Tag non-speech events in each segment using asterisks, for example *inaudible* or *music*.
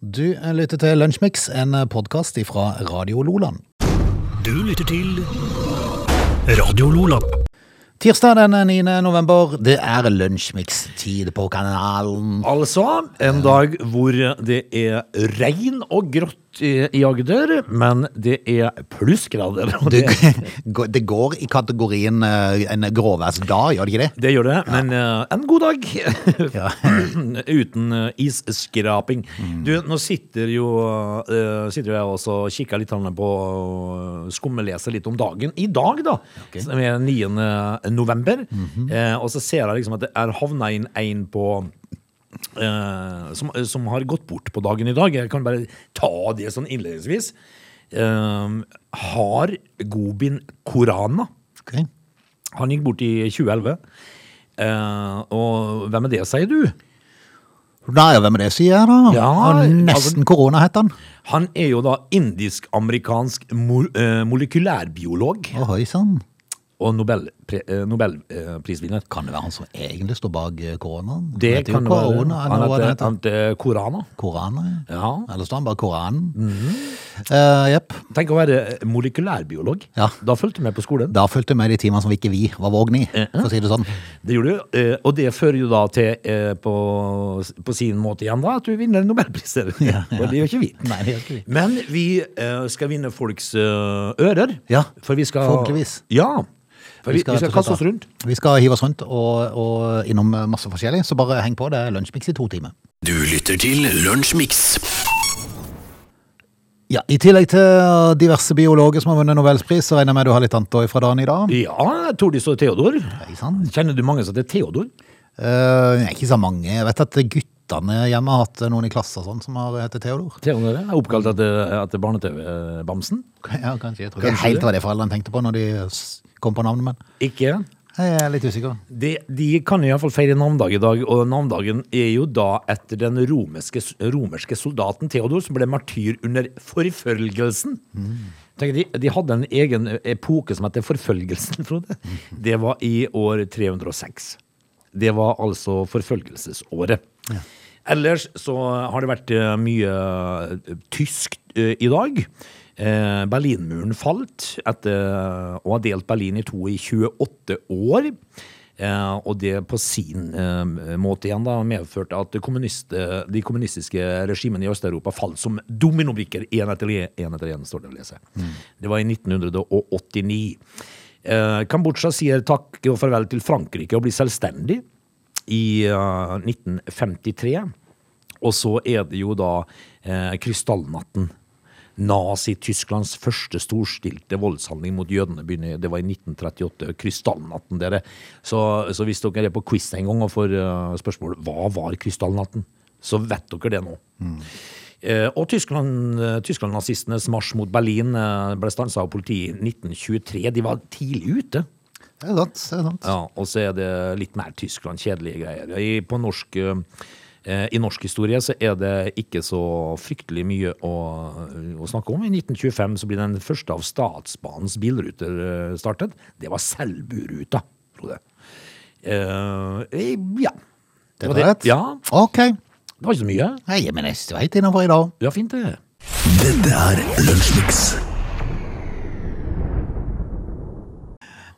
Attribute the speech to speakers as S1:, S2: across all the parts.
S1: Du lytter til Lunsjmix, en podkast fra Radio Loland.
S2: Du lytter til Radio Lola.
S1: Tirsdag den 9. november, det er Lunsjmix-tid på kanalen.
S3: Altså, en dag hvor det er regn og grått i i Agder, men det er plussgrader.
S1: Du,
S3: og Det,
S1: *laughs* gå- det går i kategorien eh, en gråværsdag, gjør det ikke det?
S3: det gjør det, men eh, en god dag
S1: Ja.
S3: *laughs* uten eh, isskraping. Du, nå sitter jo eh, sitter jo jeg også og kikker litt grann på eh, skummeleser litt om dagen. I dag, da, som er 9. november, eh, og så ser jeg liksom at det er havna inn en på eh, som, som har gått bort på dagen i dag. Jeg kan bare ta det sånn innledningsvis. Eh, har Gobin Korana.
S1: Ok.
S3: Han gikk bort i 2011. Eh, og hvem er det, sier du?
S1: Nei, og hvem er det sier jeg da?
S3: Ja,
S1: Og
S3: altså-
S1: nesten korona het han.
S3: Han er jo da indisk-amerikansk mo eh, molekylærbiolog
S1: Å, høy sann.
S3: og Nobelpre eh, nobelprisvinner.
S1: Kan det være han som Altså, egentlig står bak eh, koronaen?
S3: det
S1: heter jo
S3: kan det være.
S1: korona,
S3: Han
S1: eller hva det heter.
S3: heter- Han heter Korana.
S1: Korana, ja.
S3: Ja. Mhm.
S1: Eller står han bare Koranen? Eh, Jepp.
S3: Tenk å være molekylærbiolog.
S1: Ja.
S3: Da fulgte vi med på skolen.
S1: Da fulgte vi med de timene som ikke vi var vågne i, for å si det sånn.
S3: Det gjorde du, eh, og det fører jo da til, eh, på, på sin måte igjen, da, at du vinner nobelpriser. *laughs* Og det gjør ikke vi.
S1: Nei, det gjør ikke vi.
S3: Men vi eh, skal vinne folks eh, ører.
S1: Ja,
S3: for vi skal,
S1: forhåpentligvis.
S3: Ja, for vi, vi skal,
S1: rett og slett
S3: kaste oss
S1: da-
S3: rundt.
S1: Vi skal hive oss rundt og, og innom masse forskjellig, så bare heng på. Det er Lunsjmix i to timer.
S2: Du lytter til Lunsjmix.
S1: Ja, I tillegg til diverse biologer som har vunnet Nobelspris, så regner jeg med du har litt annet også fra dagen i dag.
S3: Ja, Tordis og Theodor.
S1: Ikke sant?
S3: Kjenner du mange som heter Theodor?
S1: Eh, ikke så mange. Jeg vet at guttene hjemme har hatt noen i klassen og sånn som har hett
S3: *laughs*
S1: Theodor.
S3: Theodor er oppkalt etter, etter barne-TV-bamsen.
S1: Ja, kanskje. Jeg tror ikke
S3: Kanskje
S1: helt
S3: det.
S1: hva det foreldrene tenkte på når de s- kom på navnet, men
S3: Ikke?
S1: jeg er litt usikker.
S3: De, de kan i hvert fall feire navndag i dag, og navndagen er jo da etter den romerske, romerske soldaten Theodor, som ble martyr under forfølgelsen. Tenk, de, de hadde en egen epoke som heter forfølgelsen, Frode. Det var i år 306. Det var altså forfølgelsesåret. Ellers så har det vært eh, mye eh, tysk eh, i dag. Eh, Berlinmuren falt etter eh, å ha delt Berlin i to i 28 år. Eh, og det på sin eh, måte igjen da medførte at det kommunist, eh, de kommunistiske regimene i Øst-Europa falt som dominobrikker én etter én, etter en, står det å lese. Det var i 1989. Eh, Kambodsja sier takk og farvel til Frankrike og blir selvstendig i eh, 1953. Og så er det jo da eh, krystallnatten. Nazi-Tysklands første storstilte voldshandling mot jødene begynner, det var i 1938. Krystallnatten, dere. Så, så hvis dere er på quiz en gang og får eh, spørsmål hva var krystallnatten, så vet dere det nå. Eh, og Tyskland, eh, Tyskland-nazistenes marsj mot Berlin eh, ble stansa av politiet i 1923. De var tidlig ute.
S1: Det er sant. det er sant.
S3: Ja, og så er det litt mer Tyskland, kjedelige greier. I, på norsk, eh, I norsk historie så er det ikke så fryktelig mye å, å snakke om. I 1925 så blir den første av statsbanens bilruter eh, startet. Det var Selburuta, Frode. Eh, eh, ja.
S1: Det
S3: var
S1: var rett.
S3: Ja,
S1: Ok.
S3: det var ikke så mye.
S1: Nei, men jeg er helt innenfor i dag.
S3: Det var fint, det.
S2: Dette er Lunsjmix.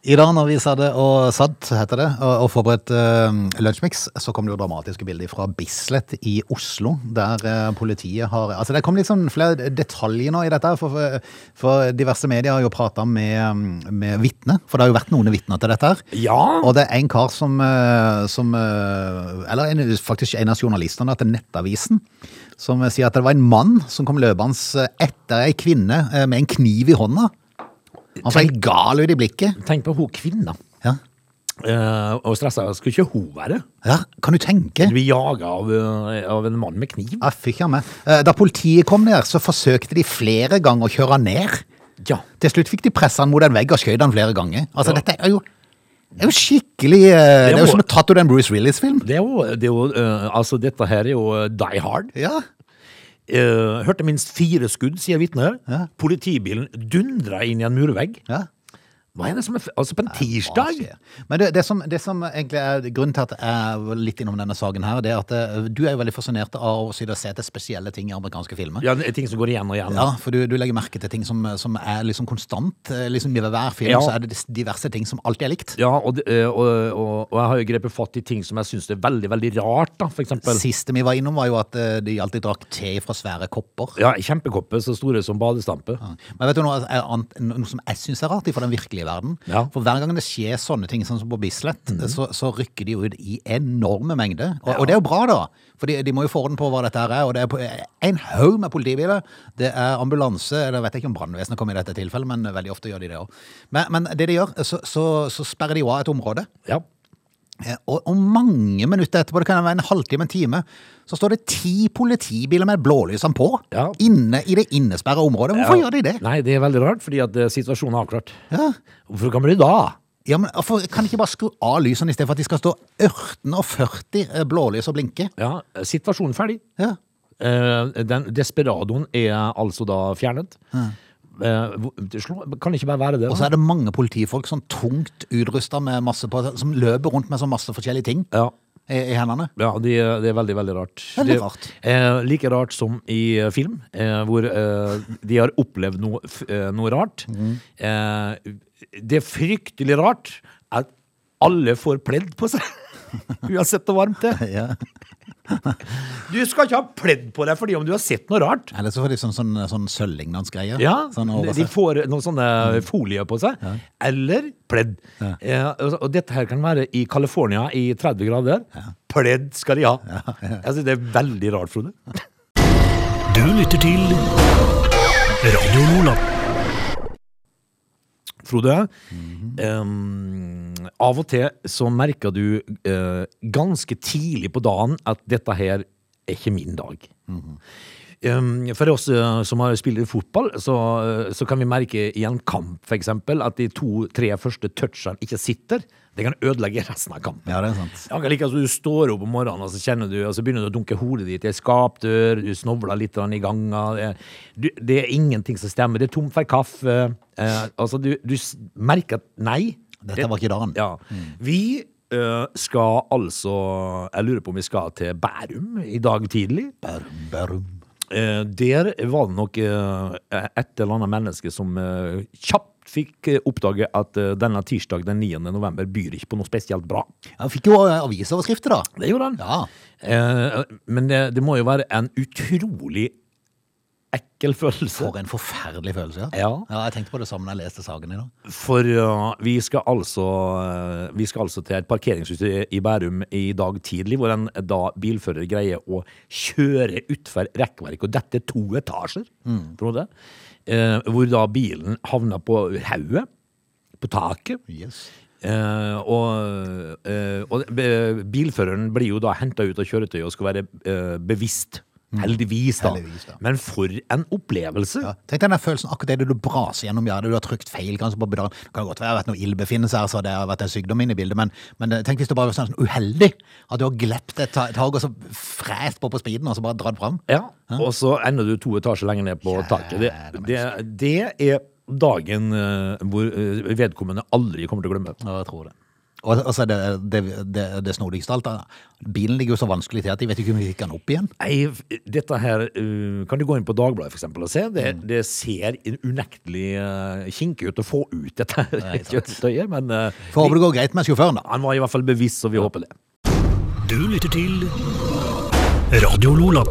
S1: I dag når vi satt og satt, heter det, og, og forberedte uh, lunsjmix, så kom det jo dramatiske bilder fra Bislett i Oslo, der eh, politiet har Altså, det kom litt sånn flere detaljer nå i dette, her, for, for, for diverse medier har jo prata med, med vitner, for det har jo vært noen vitner til dette her.
S3: Ja.
S1: Og det er en kar som, eh, som eh, Eller en, faktisk en av journalistene til Nettavisen. Som sier at det var en mann som kom løpende etter ei kvinne eh, med en kniv i hånda. Han så helt gal ut i blikket.
S3: Tenk på hun kvinna.
S1: Ja.
S3: Eh, og stressa. Skulle ikke hun være?
S1: ja, kan du tenke?
S3: Hun blir jaga av, eh, av en mann med kniv.
S1: Ja, fikk jeg med. Eh, Da politiet kom ned, så forsøkte de flere ganger å kjøre han ned.
S3: Ja.
S1: Til slutt fikk de pressa han mot en vegg og skjøt han flere ganger. Altså,
S3: Ja.
S1: dette er jo, det er jo skikkelig eh, Det er jo som å tatt ut en Bruce Willis-film.
S3: Det er jo, det er jo eh, altså dette her er jo eh, Die Hard.
S1: Ja.
S3: Eh, hørte minst fire skudd, sier vitner.
S1: Ja.
S3: Politibilen dundra inn i en murvegg.
S1: ja.
S3: Hva er det som er f- Altså, på en
S1: Hva
S3: tirsdag?
S1: skjer? Men det, det, som, det som egentlig er grunnen til at jeg er litt innom denne saken her, det er at eh, du er jo veldig fascinert av å sitte og se til spesielle ting i amerikanske filmer.
S3: Ja, det er ting som går igjen og igjen.
S1: Ja, for du, du legger merke til ting som, som er liksom konstant. eh, Liksom I hver film
S3: Ja.
S1: så er det dis- diverse ting som alltid er likt.
S3: Ja, og, det- eh, og, og, og jeg har jo grepet fatt i ting som jeg syns er veldig, veldig rart, da, for eksempel.
S1: Siste vi var innom, var jo at eh, de alltid drakk te fra svære kopper.
S3: Ja, kjempekopper så store som badestampe.
S1: Men vet du noe, er annet- noe som jeg syns er rart fra den virkelige verden?
S3: Ja. Mhm.
S1: For hver gang det skjer sånne ting, sånn som på Bislett, så, så rykker de jo ut i enorme mengder. Og, og det er jo bra, da. For de, de må jo få orden på hva dette her er. Og det er på, en haug med politibiler. Det er ambulanse eller Jeg vet ikke om brannvesenet kom i dette tilfellet, men veldig ofte gjør de det òg. Men, men det de gjør, så, så, så sperrer de jo av et område.
S3: Ja.
S1: Eh, Og, og mange minutter etterpå, det kan være en halvtime, en time, så står det ti politibiler med blålysene på
S3: Ja.
S1: inne i det innesperra området. Hvorfor
S3: Ja.
S1: gjør de det?
S3: Nei, det er veldig rart, fordi at eh, situasjonen er avklart.
S1: Ja.
S3: Hvorfor kommer de da?
S1: Ja, men hvorfor Kan de ikke bare skru av lysene i stedet for at de skal stå 18 og 40 eh, blålys og blinke?
S3: Ja, eh, situasjonen er ferdig.
S1: Ja.
S3: Eh, den desperadoen er altså da fjernet. Eh, hvor- det slår- kan ikke bare være det.
S1: Og så er det mange politifolk sånn tungt utrusta med masse på, som løper rundt med så masse forskjellige ting
S3: Ja,
S1: i, i hendene.
S3: ja det, er- det er veldig, veldig rart.
S1: Veldig
S3: Det-
S1: rart.
S3: Eh, like rart som i eh, film, eh, hvor eh, de har opplevd noe, f- eh, noe rart.
S1: Mhm.
S3: Eh, det er fryktelig rart at alle får pledd på seg. *laughs* Uansett hvor varmt det er.
S1: *laughs* Ja.
S3: Du skal ikke ha pledd på deg fordi om du har sett noe rart.
S1: Eller så får de sånn, sånn, sånn sølvlignende greier.
S3: Ja,
S1: Sånn over
S3: de
S1: seg. Mm.
S3: får noen sånne folier på seg, eller pledd. Eh, og- og dette her kan være i California i 30 grader. Pledd skal de ha. Altså, det er veldig rart, Frode.
S2: Du lytter til Radio Lola.
S3: Frode, eh, av og til så merker du eh, ganske tidlig på dagen at dette her er ikke min dag. Eh, for oss eh, som har spiller fotball, så, eh, så kan vi merke i en kamp for eksempel, at de to-tre første touchene ikke sitter. Det kan ødelegge resten av kampen.
S1: Ja, det er sant.
S3: Ja, like, altså, du står opp om morgenen og så kjenner du, og så begynner du å dunke hodet ditt i en skapdør, du snovler litt grann i gangen. Det, du, det er ingenting som stemmer. Det er tomt for kaffe. Eh, altså, du, du s- merker at nei.
S1: Dette var ikke Mm. dagen.
S3: Ja. Vi eh, skal altså Jeg lurer på om vi skal til Bærum i dag tidlig.
S1: Bærum, bærum.
S3: Eh, der var det nok eh, et eller annet menneske som eh, kjapt fikk eh, oppdage at eh, denne tirsdag den 9. november byr ikke på noe spesielt bra.
S1: Han fikk jo eh, avisoverskrifter, da.
S3: Det gjorde han.
S1: Ja.
S3: Eh, men det, det må jo være en utrolig ekkel følelse.
S1: For en forferdelig følelse.
S3: Ja.
S1: Jeg tenkte på det samme da jeg leste saken i dag.
S3: For eh, vi, skal altså, eh, vi skal altså til et parkeringshus i i Bærum i dag tidlig, hvor en eh, da bilfører greier å kjøre utfor rekkverket, og dette er to etasjer, Frode. Eh, hvor da bilen havner på hauet, på taket.
S1: Yes.
S3: Eh, og, eh, og be- bilføreren blir jo da henta ut av kjøretøyet og skal være eh, bevisst. Heldigvis, da.
S1: Mm. Heldigvis, da.
S3: Men for en opplevelse!
S1: Ja. Tenk deg den der følelsen akkurat det du braser gjennom gjerdet, du har trykt feil kanskje på bedaren. Det kan godt være at noe ildbefinnelse her, så det har vært en sykdom inne i bildet, men, men eh, tenk hvis du bare var sånn uheldig, at du har glept et ta- tag og så frest på på speeden og så bare dratt fram.
S3: Ja, Og så ender du to etasjer lenger ned på taket. Det, det, det er dagen eh, hvor eh, vedkommende aldri kommer til å glemme.
S1: Ja, jeg tror det. Og, og så er det det, det, det snodigste av alt, da. bilen ligger jo så vanskelig til at de vet ikke om vi fikk den opp igjen.
S3: Nei, f- dette her eh, Kan du gå inn på Dagbladet for eksempel og se? Det,
S1: Mm.
S3: det ser unektelig eh, kinkig ut å få ut dette kjøretøyet, men eh,
S1: Får håpe det går greit med sjåføren da.
S3: han var i hvert fall bevisst, så vi håper det.
S2: Du lytter til Radio Lola.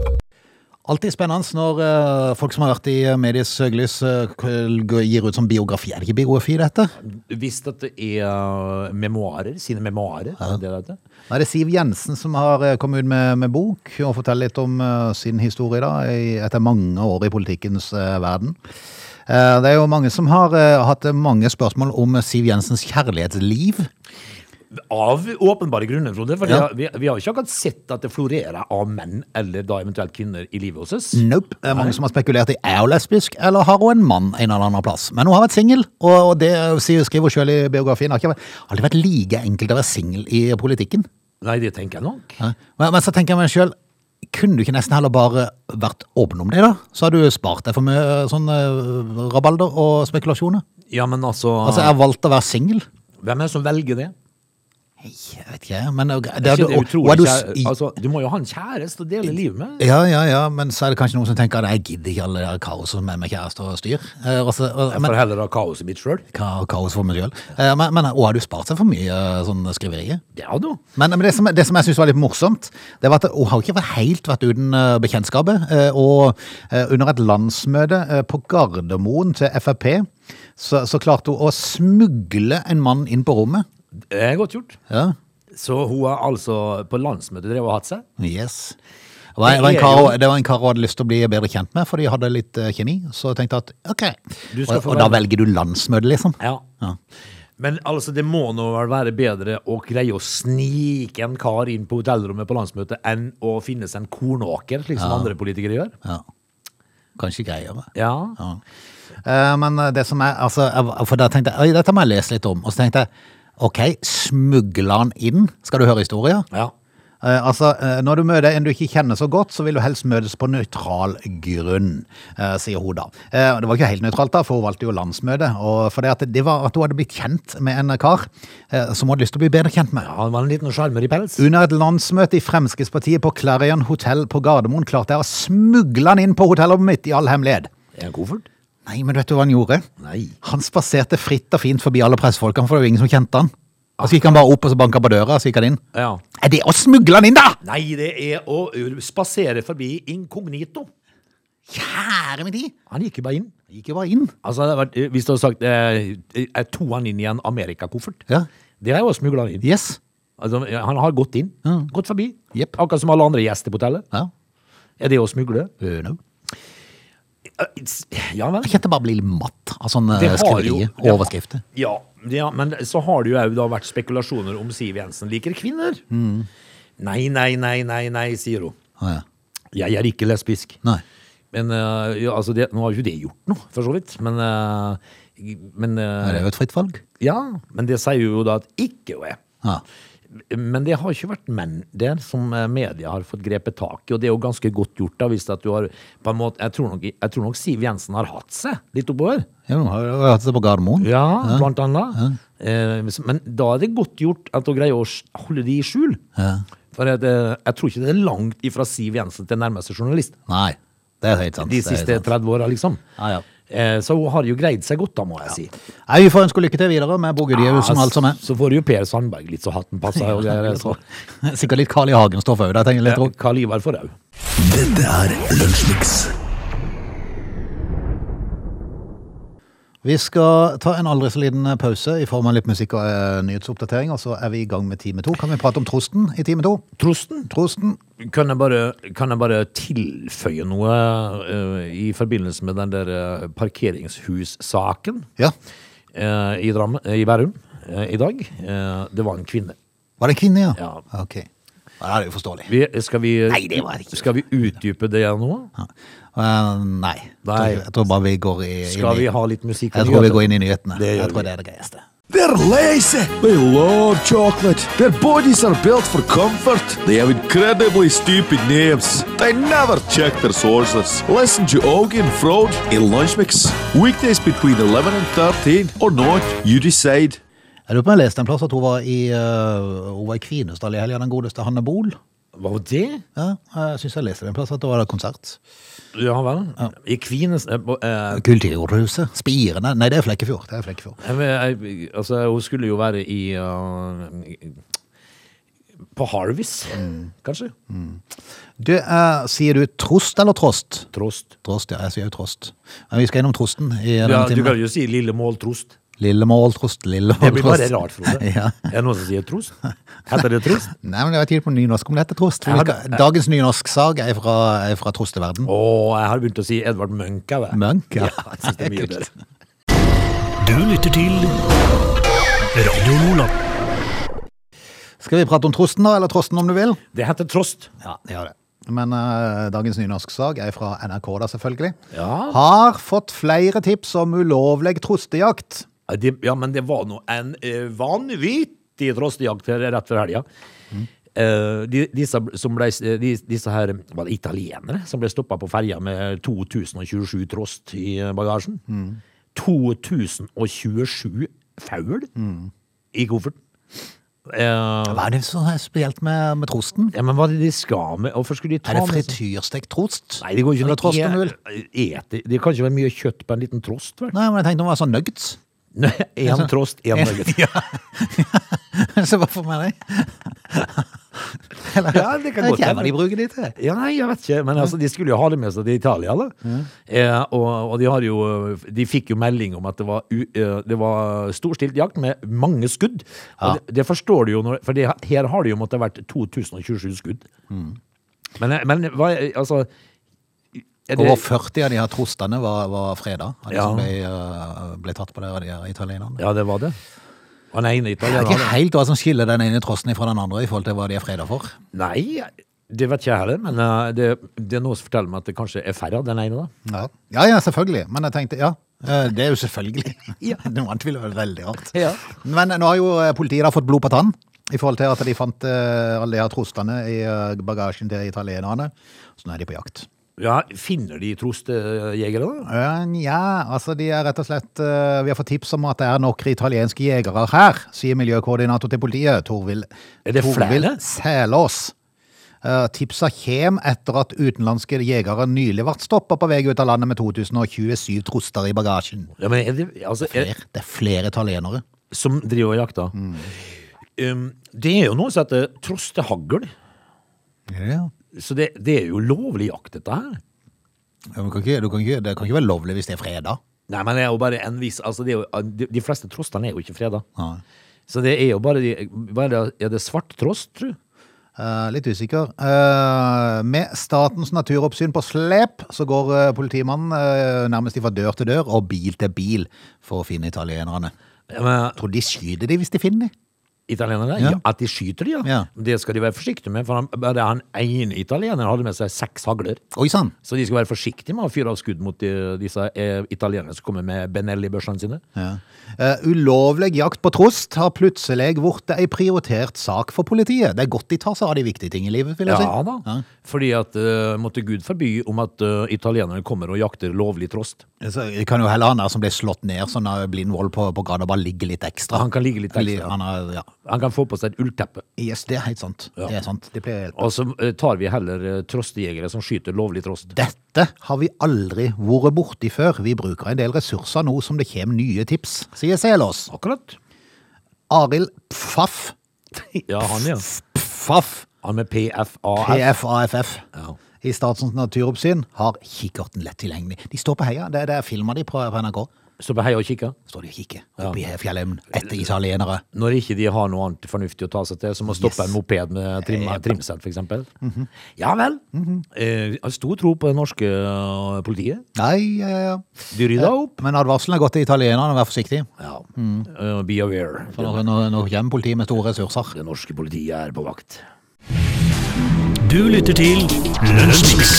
S1: Alltid spennende når eh, folk som har vært i medies søkelys, eh, k- gir ut sånn biografi. Er det ikke biografi, dette?
S3: Hvis dette er eh, memoarer, sine memoarer, er det det heter?
S1: Nå er det Siv Jensen som har eh, kommet ut med, med bok og forteller litt om eh, sin historie da, i- etter mange år i politikkens eh, verden. Eh, det er jo mange som har eh, hatt eh, mange spørsmål om Siv Jensens kjærlighetsliv.
S3: Av åpenbare grunner, Frode. For
S1: Ja.
S3: vi, har- vi har jo ikke akkurat sett at det florerer av menn, eller da eventuelt kvinner, i livet hos oss.
S1: Nope. Det er mange som har spekulert i er hun lesbisk, eller har hun en mann en eller annen plass. Men hun har vært singel, og, og det eh, sier- skriver hun sjøl i biografien. Det har ikke vært- aldri vært like enkelt å være singel i politikken.
S3: Nei, det tenker jeg nok.
S1: Nei. Men, men så tenker jeg meg sjøl, kunne du ikke nesten heller bare vært åpen om det, da? Så har du spart deg for mye eh, sånn eh, rabalder og spekulasjoner.
S3: Ja, men altså,
S1: Altså, jeg har valgt å være singel.
S3: Hvem er det som velger det?
S1: Jeg vet ikke, jeg, men det,
S3: Det er ikke det
S1: og- og
S3: utrolig
S1: er du
S3: kjære-
S1: s- i-
S3: altså, du må jo ha en kjæreste å dele livet med.
S1: Ja, ja, ja, men så er det kanskje noen som tenker at jeg gidder ikke alle det der kaoset med, med kjæreste og styr. Eh, og så- og-
S3: Jeg
S1: men,
S3: får heller ha kaoset mitt sjøl.
S1: ka, kaos for meg selv. Eh, men, men og har du spart seg for mye eh, sånn skriverier?
S3: Ja da.
S1: Men, men det, som, det som jeg synes var litt morsomt, det var at hun har ikke helt vært uten eh, bekjentskapet. eh, Og eh, under et landsmøte eh, på Gardermoen til Frp, så, så klarte hun å smugle en mann inn på rommet.
S3: Det er godt gjort.
S1: Ja,
S3: Så hun har altså på landsmøtet drevet og hatt seg?
S1: yes. Det var, det, var en
S3: Det er
S1: kar,
S3: jo-
S1: hun- det var en kar hun hadde lyst til å bli bedre kjent med, for de hadde litt eh, kjemi. Så jeg tenkte at ok,
S3: Du
S1: og,
S3: skal få
S1: og da
S3: velge.
S1: velger du landsmøte, liksom.
S3: Ja.
S1: Ja.
S3: Men altså, det må nå vel være bedre å greie å snike en kar inn på hotellrommet på landsmøtet enn å finne seg en kornåker, slik som andre politikere gjør.
S1: Ja. Kanskje greiere.
S3: Ja.
S1: Ja. Eh, Men eh, det som er, altså, jeg- for da tenkte jeg, «Oi, dette må jeg lese litt om, og så tenkte jeg, ok, smugla han inn, skal du høre historien?
S3: ja.
S1: Eh, altså, eh, når du møter en du ikke kjenner så godt, så vil du helst møtes på nøytral grunn, eh, sier hun da. Eh, det var ikke helt nøytralt da, for hun valgte jo landsmøte, og for det, at det var at hun hadde blitt kjent med en kar eh, som hun hadde lyst til å bli bedre kjent med.
S3: Han var en liten sjarmer i pels.
S1: Under et landsmøte i Fremskrittspartiet på Clarion Hotel på Gardermoen klarte jeg å smugle han inn på hotellet mitt i all hemmelighed.
S3: En koffert?
S1: Nei, men vet du hva han gjorde?
S3: Nei.
S1: Han spaserte fritt og fint forbi alle pressfolkene, for det var jo ingen som kjente han. Og så gikk han bare opp og så banka på døra, og så gikk han inn.
S3: Ja.
S1: Er det å smugle han inn, da?!
S3: Nei, det er å ø, spasere forbi inkognito.
S1: Kjære min tid!
S3: Han gikk jo bare inn.
S1: Han gikk jo bare inn.
S3: Altså, det hadde vært, ø, Hvis du hadde sagt eh, jeg tog han inn i en amerikakoffert
S1: Ja.
S3: Det er jo å smugle han inn.
S1: Yes.
S3: Altså, han har gått inn. Gått forbi.
S1: Jepp.
S3: Akkurat som alle andre gjester på hotellet.
S1: Ja.
S3: Er det å smugle?
S1: Øh, no.
S3: Ja vel.
S1: Jeg kjente bare blir litt matt av sånne
S3: Det har
S1: skriverier
S3: jo-
S1: og overskrifter.
S3: Ja, ja, men så har det jo òg da vært spekulasjoner om Siv Jensen liker kvinner. Nei, nei, nei, nei, nei, sier hun.
S1: Å, ja.
S3: Jeg er ikke lesbisk.
S1: Nei.
S3: Men eh, ja, altså det, nå har jo det gjort noe, for så vidt. Men, eh, men eh,
S1: Er det jo et fritt valg?
S3: Ja, men det sier jo da at ikke hun er.
S1: Ja.
S3: Men det har ikke vært menn der som eh, media har fått grepet tak i, og det er jo ganske godt gjort da, hvis at du har på en måte, jeg tror, nok, jeg tror nok Siv Jensen har hatt seg litt oppover.
S1: Jo, har jo hatt det på Gardermoen.
S3: Ja, blant annet. Eh, Men da er det godt gjort at hun greier å s- holde de i skjul. For at, eh, jeg tror ikke det er langt ifra Siv Jensen til nærmeste journalist
S1: Nei. Det er helt sant.
S3: de
S1: det er helt
S3: siste
S1: sant.
S3: 30 åra, liksom.
S1: Ja, ja.
S3: Eh, Så hun har jo greid seg godt, da, må jeg si.
S1: Nei, Vi får ønske lykke til videre med Bogudgjevelsen og alt som er.
S3: Så får jo Per Sandberg litt så hatten passer. og greier, så.
S1: Sikkert litt Carl I. Hagen-stoff òg, det tenker jeg litt òg.
S3: Karl Ivar Forhaug.
S2: Dette er Lunsjmix.
S1: Vi skal ta en aldri så liten pause i form av litt musikk og eh, nyhetsoppdatering, og så er vi i gang med time to. Kan vi prate om Trosten i time to?
S3: Trosten,
S1: Trosten?
S3: kan jeg bare, kan jeg bare tilføye noe eh, i forbindelse med den der eh, parkeringshussaken?
S1: Ja.
S3: eh, i, Drammen- eh, i Bærum eh, i dag. Eh, det var en kvinne.
S1: Var det en kvinne, ja?
S3: Ja.
S1: Ok. Ja, det er jo forståelig.
S3: Vi, skal, vi,
S1: Nei, det var det ikke.
S3: skal vi utdype det nå?
S1: Ja. Eh, nei.
S3: Nei.
S1: Jeg tror bare vi går i, i
S3: Skal vi ha litt musikk?
S1: Jeg tror vi går inn i nyhetene.
S3: Det gjør
S1: jeg tror
S3: vi.
S1: det er det greieste.
S4: They're lazy. They love chocolate. Their bodies are built for comfort. They have incredibly stupid names. They never check their sources. Listen to Augie and Frode in Lunch Mix. Weekdays between 11 and 13 or not, you decide.
S1: Jeg lurer på om jeg leste en plass at hun var i, eh, hun var i Kvinesdal i helga, den godeste Hanne Bol.
S3: Var det?
S1: Ja, jeg syns jeg leste en plass at det var konsert.
S3: Ja vel. I Kvines eh, på- eh,
S1: Kulturhuset. Spirene. Nei, det er Flekkefjord. Det er Flekkefjord.
S3: jeg vet- jeg- Altså, hun skulle jo være i eh, i- På Harvis,
S1: Mm.
S3: kanskje?
S1: Du, eh, sier du trost eller trost?
S3: Trost.
S1: Trost, ja. Jeg sier jo trost. Men vi skal innom trosten i denne
S3: Ja, du kan
S1: timen.
S3: jo si Lille Måltrost.
S1: Lillemål-trost,
S3: Det blir
S1: Lillemål-trost.
S3: bare rart, Frode.
S1: *laughs* ja.
S3: Er det noen som sier Trost? Heter
S1: *laughs*
S3: det Trost?
S1: Nei, men jeg vet ikke på nynorsk om det heter trost. for
S3: Jeg
S1: vi
S3: har-
S1: skal- Dagens nynorsksag er fra, er fra trosteverden.
S3: Å, jeg har begynt å si Edvard Munch. jeg, vet.
S1: Munch, ja.
S3: jeg
S1: *laughs*
S3: synes det er mye bedre.
S2: Du lytter til Radio Lola.
S1: Skal vi prate om trosten da, eller trosten om du vil?
S3: Det heter Trost.
S1: Ja, det gjør det. Men eh, dagens nynorsksag er fra NRK da, selvfølgelig.
S3: Ja.
S1: Har fått flere tips om ulovlig trostejakt.
S3: Det, ja, men det var nå en eh, vanvittig trostejakt her rett før helga. Eh, de, disse, som ble, eh, de, disse her var det italienere som ble stoppa på ferja med 2027 trost i eh, bagasjen. 2027 faul i kofferten. Eh,
S1: Hva er det som er spesielt med, med trosten?
S3: ja, men hva er det de skal med? Hvorfor skulle de ta
S1: Er det
S3: med seg-
S1: frityrstekt trost?
S3: Nei, det går ikke
S1: Eller trost og mul?
S3: Det, sånn. Eh, det kan ikke være mye kjøtt på en liten trost, vel?
S1: Nei, men jeg tenkte om det var sånn nuggets. *laughs*
S3: *laughs* Én trost, én nugget.
S1: Ja. Så hva får man det? Eller,
S3: Ja, det kan
S1: jeg
S3: godt
S1: vet ikke
S3: hende.
S1: hva de bruker de til.
S3: Ja, nei, jeg vet ikke, men altså, de skulle jo ha det med seg til Italia, da. Eh, og, og de, har jo, de fikk jo melding om at det var, u, eh, det var storstilt jakt med mange skudd.
S1: Ja.
S3: Og det, det forstår du jo, når, for det, her har det jo måttet ha vært 2027 skudd.
S1: Mm.
S3: Men, eh, men hva, altså er det,
S1: Over 40 av de her trostene var, var freda, av de
S3: Ja.
S1: som ble, eh, ble tatt på det av de her italienerne.
S3: Ja, det var det. Han ene
S1: Det er
S3: italieneren
S1: ikke helt hva som skiller den ene trosten fra den andre i forhold til hva de er freda for.
S3: Nei, det vet ikke jeg heller, men eh, det, det er noe som forteller meg at det kanskje er færre av den ene, da.
S1: Ja, ja, ja selvfølgelig. Men jeg tenkte, ja, eh, det er jo selvfølgelig. *laughs* Noe annet ville vært veldig rart.
S3: Ja.
S1: Men nå har jo eh, politiet da fått blod på tann, i forhold til at de fant eh, alle de her trostene i eh, bagasjen til italienerne. Så nå er de på jakt.
S3: Ja, Finner de trostjegere, da?
S1: Eh, Ja, altså de er rett og slett eh, Vi har fått tips om at det er noen italienske jegere her, sier miljøkoordinator til politiet, Torvild,
S3: Er det
S1: Torvild
S3: flere?
S1: Selås. Eh, Tipsa kjem etter at utenlandske jegere nylig ble stoppa på vei ut av landet med 2027 troster i bagasjen.
S3: Ja, men er det, altså, er,
S1: Flere, det er flere italienere.
S3: som driver og jakter. Um, det er jo noe som heter trostehagl,
S1: Ja.
S3: så det, det er jo lovlig jakt, dette her.
S1: men Du kan ikke, du kan ikke, det kan ikke være lovlig hvis det er freda.
S3: Nei, men det er jo bare en viss altså det er jo, de, de fleste trostene er jo ikke freda.
S1: Nei.
S3: Så det er jo bare de hva Er det, er det svart trost, tru?
S1: Eh, litt usikker. Eh, med Statens naturoppsyn på slep, så går eh, politimannen eh, nærmest fra dør til dør og bil til bil for å finne italienerne.
S3: Ja, men,
S1: Tror de skyter de hvis de finner de.
S3: italienerne?
S1: Ja.
S3: Ja. At de skyter, de, ja.
S1: Ja.
S3: Det skal de være forsiktige med, for han, bare han ene italieneren hadde med seg seks hagler.
S1: Oi sann!
S3: Så de skal være forsiktige med å fyre av skudd mot de, disse eh, italienerne som kommer med Benelli-børsene sine.
S1: Ja. Eh, ulovlig jakt på trost har plutselig blitt ei prioritert sak for politiet. Det er godt de tar seg av de viktige ting i livet, vil jeg si.
S3: Ja da. Fordi at eh, måtte Gud forby om at eh, italienerne kommer og jakter lovlig trost.
S1: Så det kan jo heller han der som ble slått ned sånn av blind vold på, på gata, bare ligge litt ekstra.
S3: Han kan ligge litt
S1: Eller,
S3: ekstra.
S1: Han er, ja.
S3: Han kan få på seg et ullteppe.
S1: Yes, det er helt sant.
S3: Ja.
S1: Det er sant. Det pleier å hjelpe.
S3: Og så eh, tar vi heller eh, trostejegere som skyter lovlig trost.
S1: Dette har vi aldri vært borti før. Vi bruker en del ressurser nå som det kommer nye tips, sier Selås.
S3: Akkurat.
S1: Arild Pfaff.
S3: Ja, han ja.
S1: Pfaff.
S3: Han med PFAF.
S1: PFAFF.
S3: Ja.
S1: I Statens naturoppsyn har kikkerten lett tilgjengelig. De står på heia. Det, det er filma de på, på NRK.
S3: Så på heia og kikka.
S1: Står de og kikker oppi fjellheimen etter italienere.
S3: Når ikke de har noe annet fornuftig å ta seg til, som å stoppe
S1: Yes.
S3: en moped med trim, trimsett, for eksempel. Ja vel. Eh, jeg har stor tro på det norske eh, politiet.
S1: Nei, ja, ja, ja.
S3: De rydda opp.
S1: Men advarselen er gått til italienerne, vær forsiktig.
S3: Ja. Eh, be aware.
S1: For nå, nå, nå kommer politiet med store ressurser.
S3: Det norske politiet er på vakt.
S2: Du lytter til Lunsjmix.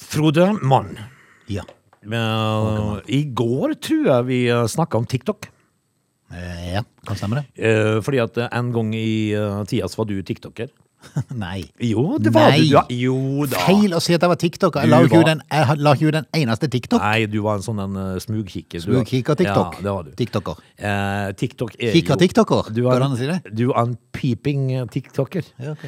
S3: Frode Mann.
S1: Ja.
S3: Eh, I går tror jeg vi snakka om TikTok.
S1: Eh, ja, kan stemme det. *laughs*
S3: Eh, fordi at en gang i eh, tida så var du TikToker.
S1: Nei.
S3: Jo, det var
S1: Nei.
S3: du. Ja. Jo da.
S1: Feil å si at jeg var TikToker. Jeg
S3: Du
S1: la jo ikke
S3: var-
S1: ut den, jeg la ikke ut den eneste TikTok.
S3: Nei, du var en sånn en eh, smugkikker. Du-
S1: Smugkikker-TikTok.
S3: Ja, det var du.
S1: TikToker.
S3: Eh, TikTok er jo-
S1: Kikker-tiktoker,
S3: Du er-
S1: går det an å si det?
S3: Du er en peeping eh, TikToker.
S1: Ja, ok.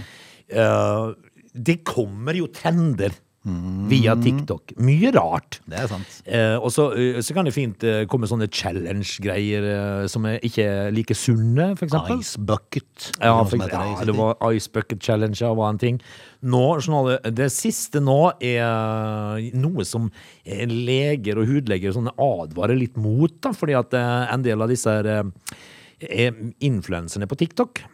S3: Eh, det kommer jo trender via TikTok. Mye rart.
S1: Det er sant.
S3: Eh, og så, eh, så kan det fint eh, komme sånne challenge-greier eh, som er ikke like sunne, for eksempel.
S1: Ice bucket.
S3: Ja,
S1: Noe
S3: for,
S1: som heter det i
S3: ja,
S1: sin
S3: det var Ice Bucket Challenge ja, var en ting. Nå, sånn, at det, det siste nå er noe som eh, leger og hudleger sånn, advarer litt mot, da, fordi at eh, en del av disse her, eh, eh, influenserne på TikTok
S1: tid.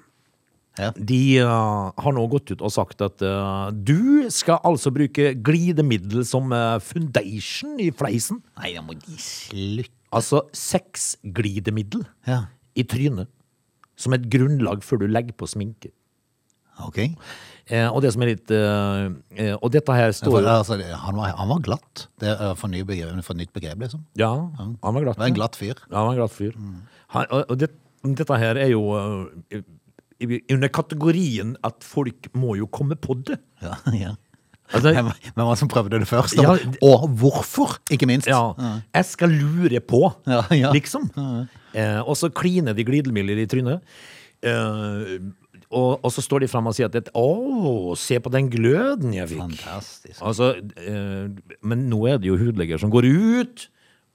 S1: Ja.
S3: de eh, har nå gått ut og sagt at eh, du skal altså bruke glidemiddel som eh, foundation i fleisen.
S1: Nei, da må de slutte.
S3: Altså sexglidemiddel
S1: Ja.
S3: i trynet. Som et grunnlag før du legger på sminke.
S1: Ok.
S3: Eh, og det som er litt eh, eh, Og dette her
S1: For,
S3: står jo
S1: altså, det- han, var, han var glatt. Det er øh, for, ny begrep, for nytt begrep, liksom.
S3: Ja, han var glatt.
S1: Det var en glatt Mm. fyr. *laughs*
S3: Ja, han var en glatt fyr. Han, og og det, dette her er jo eh, i- under kategorien at folk må jo komme på det.
S1: Ja, ja.
S3: Altså-
S1: Hvem hvem var det som prøvde det først?
S3: Ja,
S1: Og, og hvorfor, ikke minst.
S3: Ja. Jeg skal lure på,
S1: Ja, ja.
S3: liksom. Eh, og så kliner de glidemidler i trynet. Eh, og, og så står de fram og sier at det- Å, se på den gløden jeg fikk.
S1: Fantastisk.
S3: Altså, eh, men nå er det jo hudleger som går ut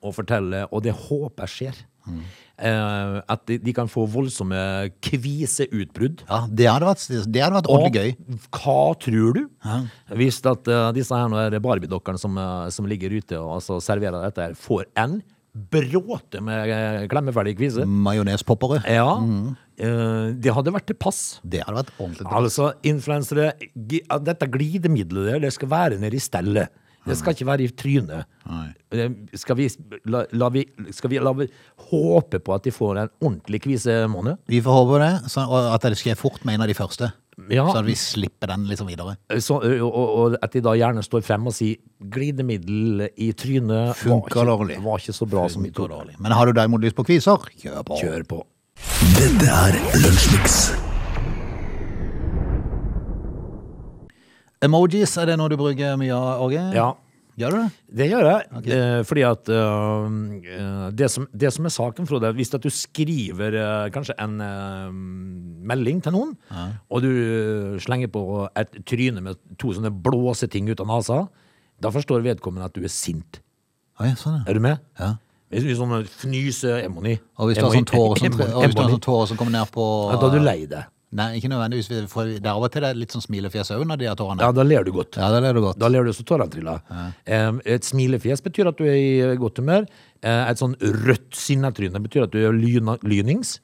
S3: og forteller, og det håper jeg skjer.
S1: Mm.
S3: Eh, at de, de kan få voldsomme kviseutbrudd.
S1: Ja, det hadde vært, det hadde vært ordentlig gøy.
S3: hva tror du? Hvis at eh, disse her nå er barbiedokkerne som, eh, som ligger ute og altså, serverer dette, her, får en bråte med eh, klemmeferdig kvise.
S1: Mm. Majonespoppere.
S3: Ja,
S1: Mm.
S3: eh, det hadde vært til pass.
S1: Det hadde vært ordentlig bra.
S3: Altså, influensere, gi- at dette glidemiddelet der, det skal være nede i stellet. Det skal ikke være i trynet.
S1: Nei.
S3: Det- Skal vi, la, la vi, skal vi, la vi håpe på at de får en ordentlig kvisemåned?
S1: Vi får håpe det, så, og at det skjer fort med en av de første.
S3: Ja.
S1: Så at vi slipper den liksom videre.
S3: Så, og, og, og at de da gjerne står frem og sier glidemiddel i trynet
S1: Funker
S3: var
S1: dårlig.
S3: ikke, var ikke så bra som vi trodde.
S1: Men har du derimot lyst på kviser, kjør på.
S3: Kjør på.
S2: Dette er Lunsjmix.
S1: Emojis, er det noe du bruker mye av, Åge?
S3: Ja.
S1: Gjør du det?
S3: Det gjør jeg, eh, fordi at eh, eh, det, som, det som er saken, Frode, er hvis at du skriver eh, kanskje en eh, melding til noen, og du eh, slenger på et tryne med to sånne blåseting ut av nasa, da forstår vedkommende at du er sint.
S1: Oi, sånn ja.
S3: Er du med?
S1: Ja.
S3: Hvis du sånn fnyse-emoni.
S1: Og hvis du har sånn tårer
S3: *laughs*
S1: som, og hvis du har sånn tårer som kommer ned på
S3: Ja, da er du lei deg.
S1: Nei, ikke nødvendigvis. For det er av og til det er litt sånn smilefjes òg når de har tårene.
S3: Ja, da ler du godt.
S1: Ja, det er det godt.
S3: Da ler du så tårene triller. Em, Et smilefjes betyr at du er i eh, godt humør. Eh, Et sånn rødt sinnetryne betyr at du er lyna- lynings.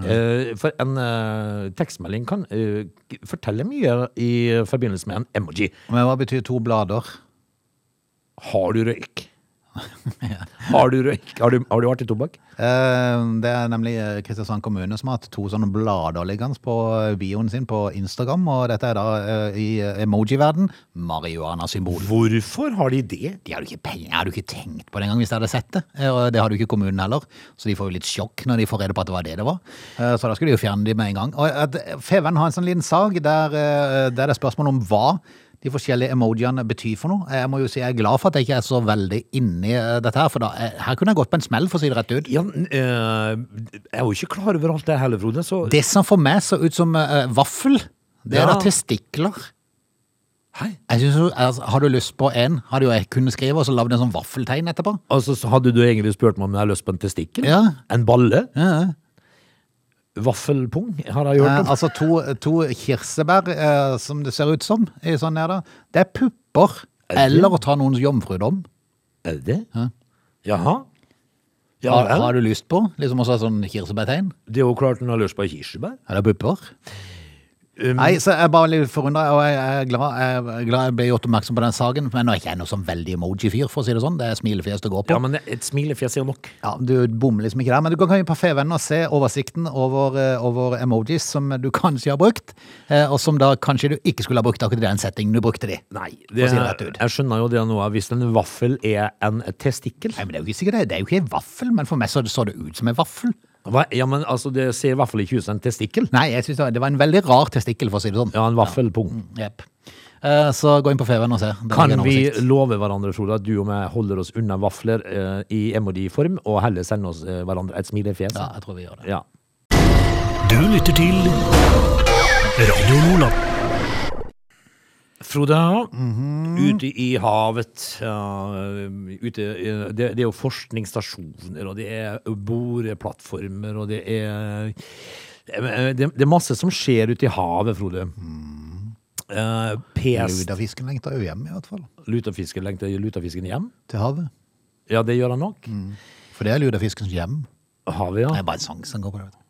S3: Eh, For en eh, tekstmelding kan eh, k- fortelle mye i forbindelse med en emoji.
S1: Men hva betyr to blader?
S3: Har du røyk? Har du røyk? Har du, har du vært i tobakk?
S1: Eh, Det er nemlig eh, Kristiansand kommune som har hatt to sånne blader liggende på eh, bioen sin på Instagram, og dette er da eh, i eh, emoji-verden marihuana-symbol.
S3: Hvorfor har de det?
S1: Det har du ikke penger, har du ikke tenkt på det engang hvis de hadde sett det. Eh, Og det hadde jo ikke kommunen heller, så de får jo litt sjokk når de får rede på at det var det det var. Eh, Så da skulle de jo fjerne de med en gang. Og at Feven har en sånn liten sag der, eh, der det er spørsmål om hva de forskjellige emojiene betyr for noe. Jeg må jo si jeg er glad for at jeg ikke er så veldig inni eh, dette her, for da, eh, her kunne jeg gått på en smell, for å si det rett ut.
S3: Ja, n- eh, jeg er jo ikke klar over alt det heller, Frode. Så
S1: Det som for meg så ut som eh, vaffel, det er
S3: Ja.
S1: da testikler.
S3: Hei.
S1: Jeg synes, jo- altså, har du lyst på en, hadde jo jeg kunnet skrive, og så lagd en sånn vaffeltegn etterpå.
S3: Altså, så hadde du egentlig spurt meg om jeg har lyst på en testikkel?
S1: Ja.
S3: En balle?
S1: Ja, ja.
S3: Vaffelpung har jeg hørt
S1: Eh,
S3: om.
S1: altså to, to kirsebær, eh, som det ser ut som, i sånn her da. Det er pupper,
S3: Er det?
S1: eller å ta noens jomfrudom.
S3: er det det? Jaha. Ja,
S1: Hva
S3: vel.
S1: har du lyst på? Liksom også et sånn kirsebærtegn.
S3: Det er jo klart hun har lyst på kirsebær. Um,
S1: Er det pupper?
S3: Mm.
S1: Nei, så jeg er bare litt forundret, og jeg er glad jeg, er glad jeg ble gjort oppmerksom på den saken, men nå er ikke jeg noe sånn veldig emoji-fyr, for å si det sånn. Det er smilefjes det går på.
S3: Ja, men et smilefjes er jo nok.
S1: Ja, Du bommer liksom ikke der, men du kan gå inn på Fevennen og se oversikten over, eh, over emojis som du kanskje har brukt, eh, og som da kanskje du ikke skulle ha brukt akkurat i den settingen du brukte de.
S3: Nei,
S1: For å
S3: det,
S1: si det rett ut.
S3: jeg skjønner jo det nå. at Hvis en vaffel er en testikkel
S1: Nei, men Det er jo ikke sikkert det. Det er jo ikke en vaffel, men for meg så så det ut som en vaffel.
S3: Hva? Ja, men altså, det ser i hvert fall ikke ut som en testikkel.
S1: Nei, jeg synes det var- det var en veldig rar testikkel, for å si det sånn.
S3: Ja, en vaffelpung.
S1: Jepp. Eh, Så gå inn på Fevennen og se. Det ligger
S3: Kan
S1: en
S3: vi
S1: oversikt.
S3: love hverandre, Frode, at du og meg holder oss unna vafler eh, i emoji-form, og heller sender oss eh, hverandre et smilefjes?
S1: Ja, jeg tror vi gjør det.
S3: ja.
S2: Du lytter til Radio Lola.
S3: Frode,
S1: Mhm.
S3: ute i havet ja, ute, eh, det, det er jo forskningsstasjoner, og det er boreplattformer, og det er eh, det, det er masse som skjer ute i havet, Frode. Eh, pest
S1: Ludafisken lengter Mhm. jo hjem, i hvert fall.
S3: Lutafisken lengter lutafisken hjem?
S1: Til havet.
S3: Ja, det gjør han nok.
S1: Mm. For det er ludafiskens hjem.
S3: Havet, ja.
S1: Det er bare en sang som går på det. vet du.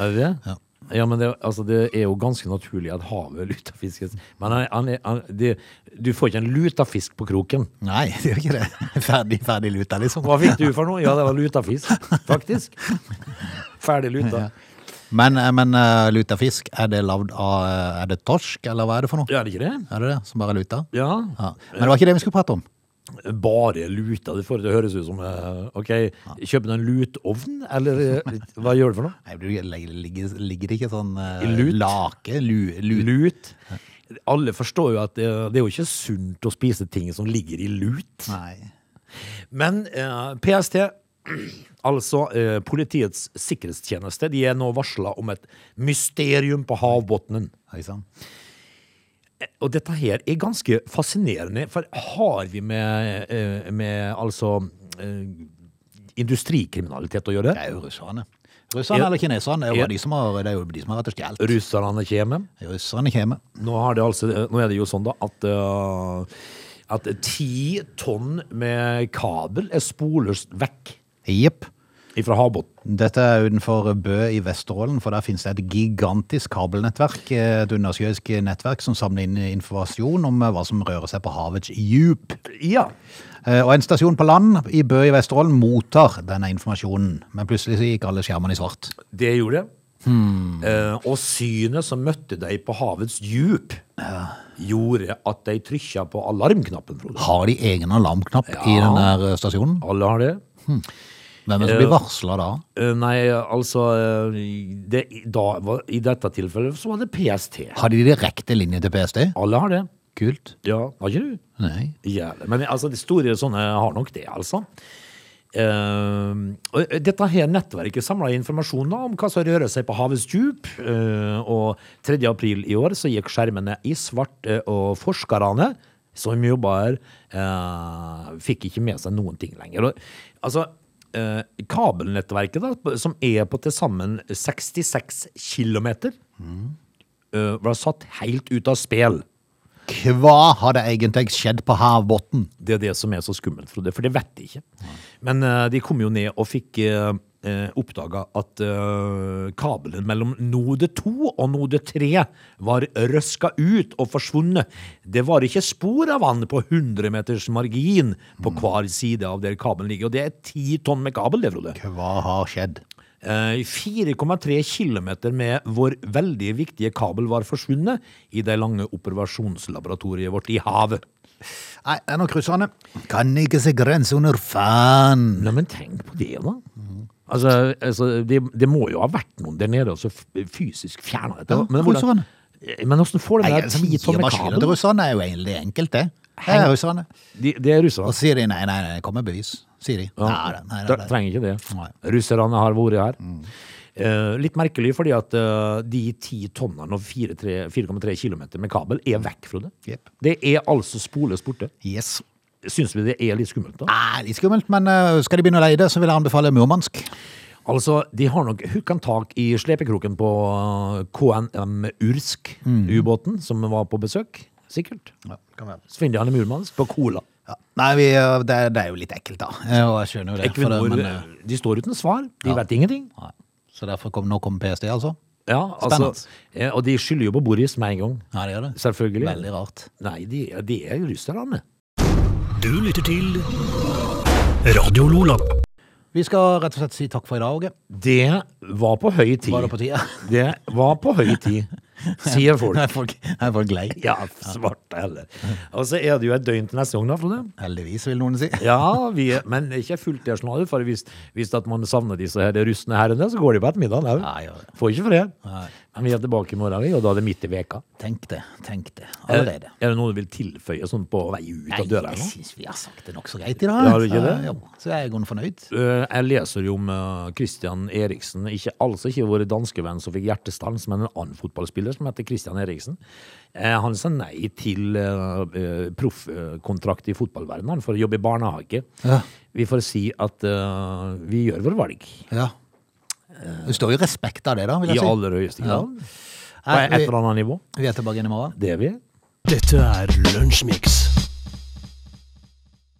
S3: Er det det?
S1: Ja.
S3: Ja, men det, altså, det er jo ganske naturlig at havet luter fisken. Men han, han, er- han, det, du får ikke en lutafisk på kroken.
S1: Nei, *laughs* det gjør ikke det. Ferdig, ferdig luta, liksom.
S3: Hva fikk du for noe? Ja, det var lutafisk, faktisk. Ferdig luta.
S1: Men, men eh, lutafisk, er det lavd av eh, Er det torsk, eller hva er det for noe?
S3: Ja, er det ikke det?
S1: Er det det som bare er luta?
S3: Ja.
S1: Ja. Men det var ikke det vi skulle prate om.
S3: Bare luta. Det får det til å høres ut som eh, OK, kjøper du en lutovn, eller eh, hva gjør du for noe?
S1: Nei, du, ligger, ligger det ikke sånn eh,
S3: I lut?
S1: lake? Lu, lut?
S3: Lut? alle forstår jo at det, det er jo ikke sunt å spise ting som ligger i lut.
S1: Nei.
S3: Men eh, PST, altså eh, Politiets sikkerhetstjeneste, de er nå varsla om et mysterium på havbunnen.
S1: Hei sann.
S3: Og dette her er ganske fascinerende, for har vi med, eh, med altså eh, industrikriminalitet å gjøre?
S1: Det er jo russerne. Russerne
S3: Ja.
S1: eller kineserne, det er jo
S3: Ja.
S1: bare de som har, det er jo de som har vært og stjålet.
S3: Russerne kommer.
S1: Russerne kommer.
S3: Nå, har det altså, nå er det jo sånn da at eh, at ti tonn med kabel er sporløst vekk
S1: Jepp.
S3: fra havbunnen.
S1: Dette er utenfor Bø i Vesterålen, for der finnes det et gigantisk kabelnettverk, eh, et undersjøisk nettverk som samler inn informasjon om eh, hva som rører seg på havets djup.
S3: Ja.
S1: Eh, Og en stasjon på land i Bø i Vesterålen mottar denne informasjonen, men plutselig så gikk alle skjermene i svart.
S3: Det gjorde det. Eh, og synet som møtte deg på havets djup, gjorde at de trykka på alarmknappen, Frode.
S1: Har de egen alarmknapp i
S3: Ja.
S1: den der eh, stasjonen?
S3: Alle har det.
S1: Hvem er det som blir varsla da?
S3: Eh, nei, altså eh, det, i- da, var, I dette tilfellet så var det PST.
S1: Har de direkte linje til PST?
S3: Alle har det.
S1: Kult.
S3: Ja, har ikke du?
S1: Nei.
S3: Jævlig. Men altså, de store sånne har nok det, altså. Eh, og dette her nettverket samla informasjon da om hva som rører seg på havets djup. eh, og 3. april i år så gikk skjermene i svart, eh, og forskerne som jobber her, eh, fikk ikke med seg noen ting lenger. Og, altså, eh, kabelnettverket da, som er på til sammen 66 km, eh, var satt helt ut av spill.
S1: Hva har det egentlig skjedd på havbunnen?
S3: Det er det som er så skummelt, Frode, for det vet de ikke. Men eh, de kom jo ned og fikk uh, oppdaga at eh, kabelen mellom node 2 og node 3 var røska ut og forsvunnet. Det var ikke spor av vann på 100 meters margin på hver side av der kabelen ligger. Og det er ti tonn med kabel, det, Frode.
S1: Hva har skjedd?
S3: Eh, 4,3 km med vår veldig viktige kabel var forsvunnet i det lange operasjonslaboratoriet vårt i havet.
S1: Nei, det er nok russerne. Kan ikke se grense under fan.
S3: Nei, men tenk på det, da. Altså, altså det, det må jo ha vært noen der nede og så f- fysisk fjerna dette.
S1: Ja,
S3: men, hvordan,
S1: russerne.
S3: men hvordan får de
S1: Nei,
S3: der
S1: altså,
S3: ti
S1: gir
S3: tonn med
S1: maskinen til
S3: kabel?
S1: russerne er jo egentlig enkelt, det. Det er russerne.
S3: De, det er
S1: Og
S3: russerne.
S1: så sier de nei, nei, nei, kom med bevis, sier de. Nei, nei, nei,
S3: Da
S1: nei, nei.
S3: trenger ikke det.
S1: Nei. Mm.
S3: Russerne har vært her. Eh, litt merkelig, fordi at eh, de ti tonnene og 4,3 4,3 km med kabel er vekk, Frode.
S1: Jepp.
S3: Det er altså sporløst borte.
S1: Yes.
S3: Syns vi det er litt skummelt, da?
S1: Nei, litt skummelt, men eh, skal de begynne å leie det, så vil jeg anbefale Murmansk.
S3: Altså, de har nok hukket tak i slepekroken på uh, KNM Ursk,
S1: Mm.
S3: ubåten, som var på besøk, sikkert. Så finner de han i Murmansk på Kola.
S1: Ja. Nei, vi, eh, det, er- det er jo litt ekkelt, da. *laughs* Eh, Og jeg skjønner jo det. for
S3: Equinor,
S1: det men, eh,
S3: de står uten svar, de vet ingenting.
S1: nei. Så derfor kom, nå kommer PST, altså?
S3: Ja, altså,
S1: Spennende.
S3: ja, og de skylder jo på Boris med en gang,
S1: Ja, det gjør det.
S3: selvfølgelig.
S1: Veldig rart.
S3: Nei, de, de er russerne.
S2: Du lytter til Radio Lola.
S1: Vi skal rett og slett si takk for i dag, Åge.
S3: Det var på høy tid.
S1: Var det på tide?
S3: Det var på høy
S1: *laughs*
S3: tid, sier folk.
S1: Er folk, er folk lei?
S3: Ja, svarte heller. Og så er det jo et døgn til neste gang da, Frode.
S1: Heldigvis, vil noen si.
S3: Ja, vi, men ikke fullt det snarere, for hvis, hvis at man savner disse her rustne herrene, så går de på ettermiddagen. da.
S1: Ja, gjør det.
S3: Får ikke fred. Men vi er tilbake i morgen, vi, og da er det midt i veka.
S1: Tenk det, tenk det.
S3: Er,
S1: Allerede.
S3: er det noe du vil tilføye sånn på vei Eh, ut av døra?
S1: jeg
S3: nå?
S1: syns vi har sagt det nokså greit i dag.
S3: Ja, har du ikke det?
S1: Så, jo, så jeg er godt fornøyd.
S3: Eh, Jeg leser jo om eh, Christian Eriksen, ikke, altså ikke vår danske venn som fikk hjertestans, men en annen fotballspiller som heter Christian Eriksen. Eh, Han sa nei til eh, eh, proffkontrakt i fotballverdenen han, for å jobbe i barnehage.
S1: Ja.
S3: Vi får si at eh, vi gjør vår valg.
S1: Ja. Eh, Det står jo respekt av det, da. vil
S3: I
S1: jeg si.
S3: aller høyeste grad. På
S1: Nei,
S3: et
S1: vi,
S3: eller annet nivå.
S1: vi er tilbake igjen i morgen.
S3: Det er vi.
S2: Dette er Lunsjmix.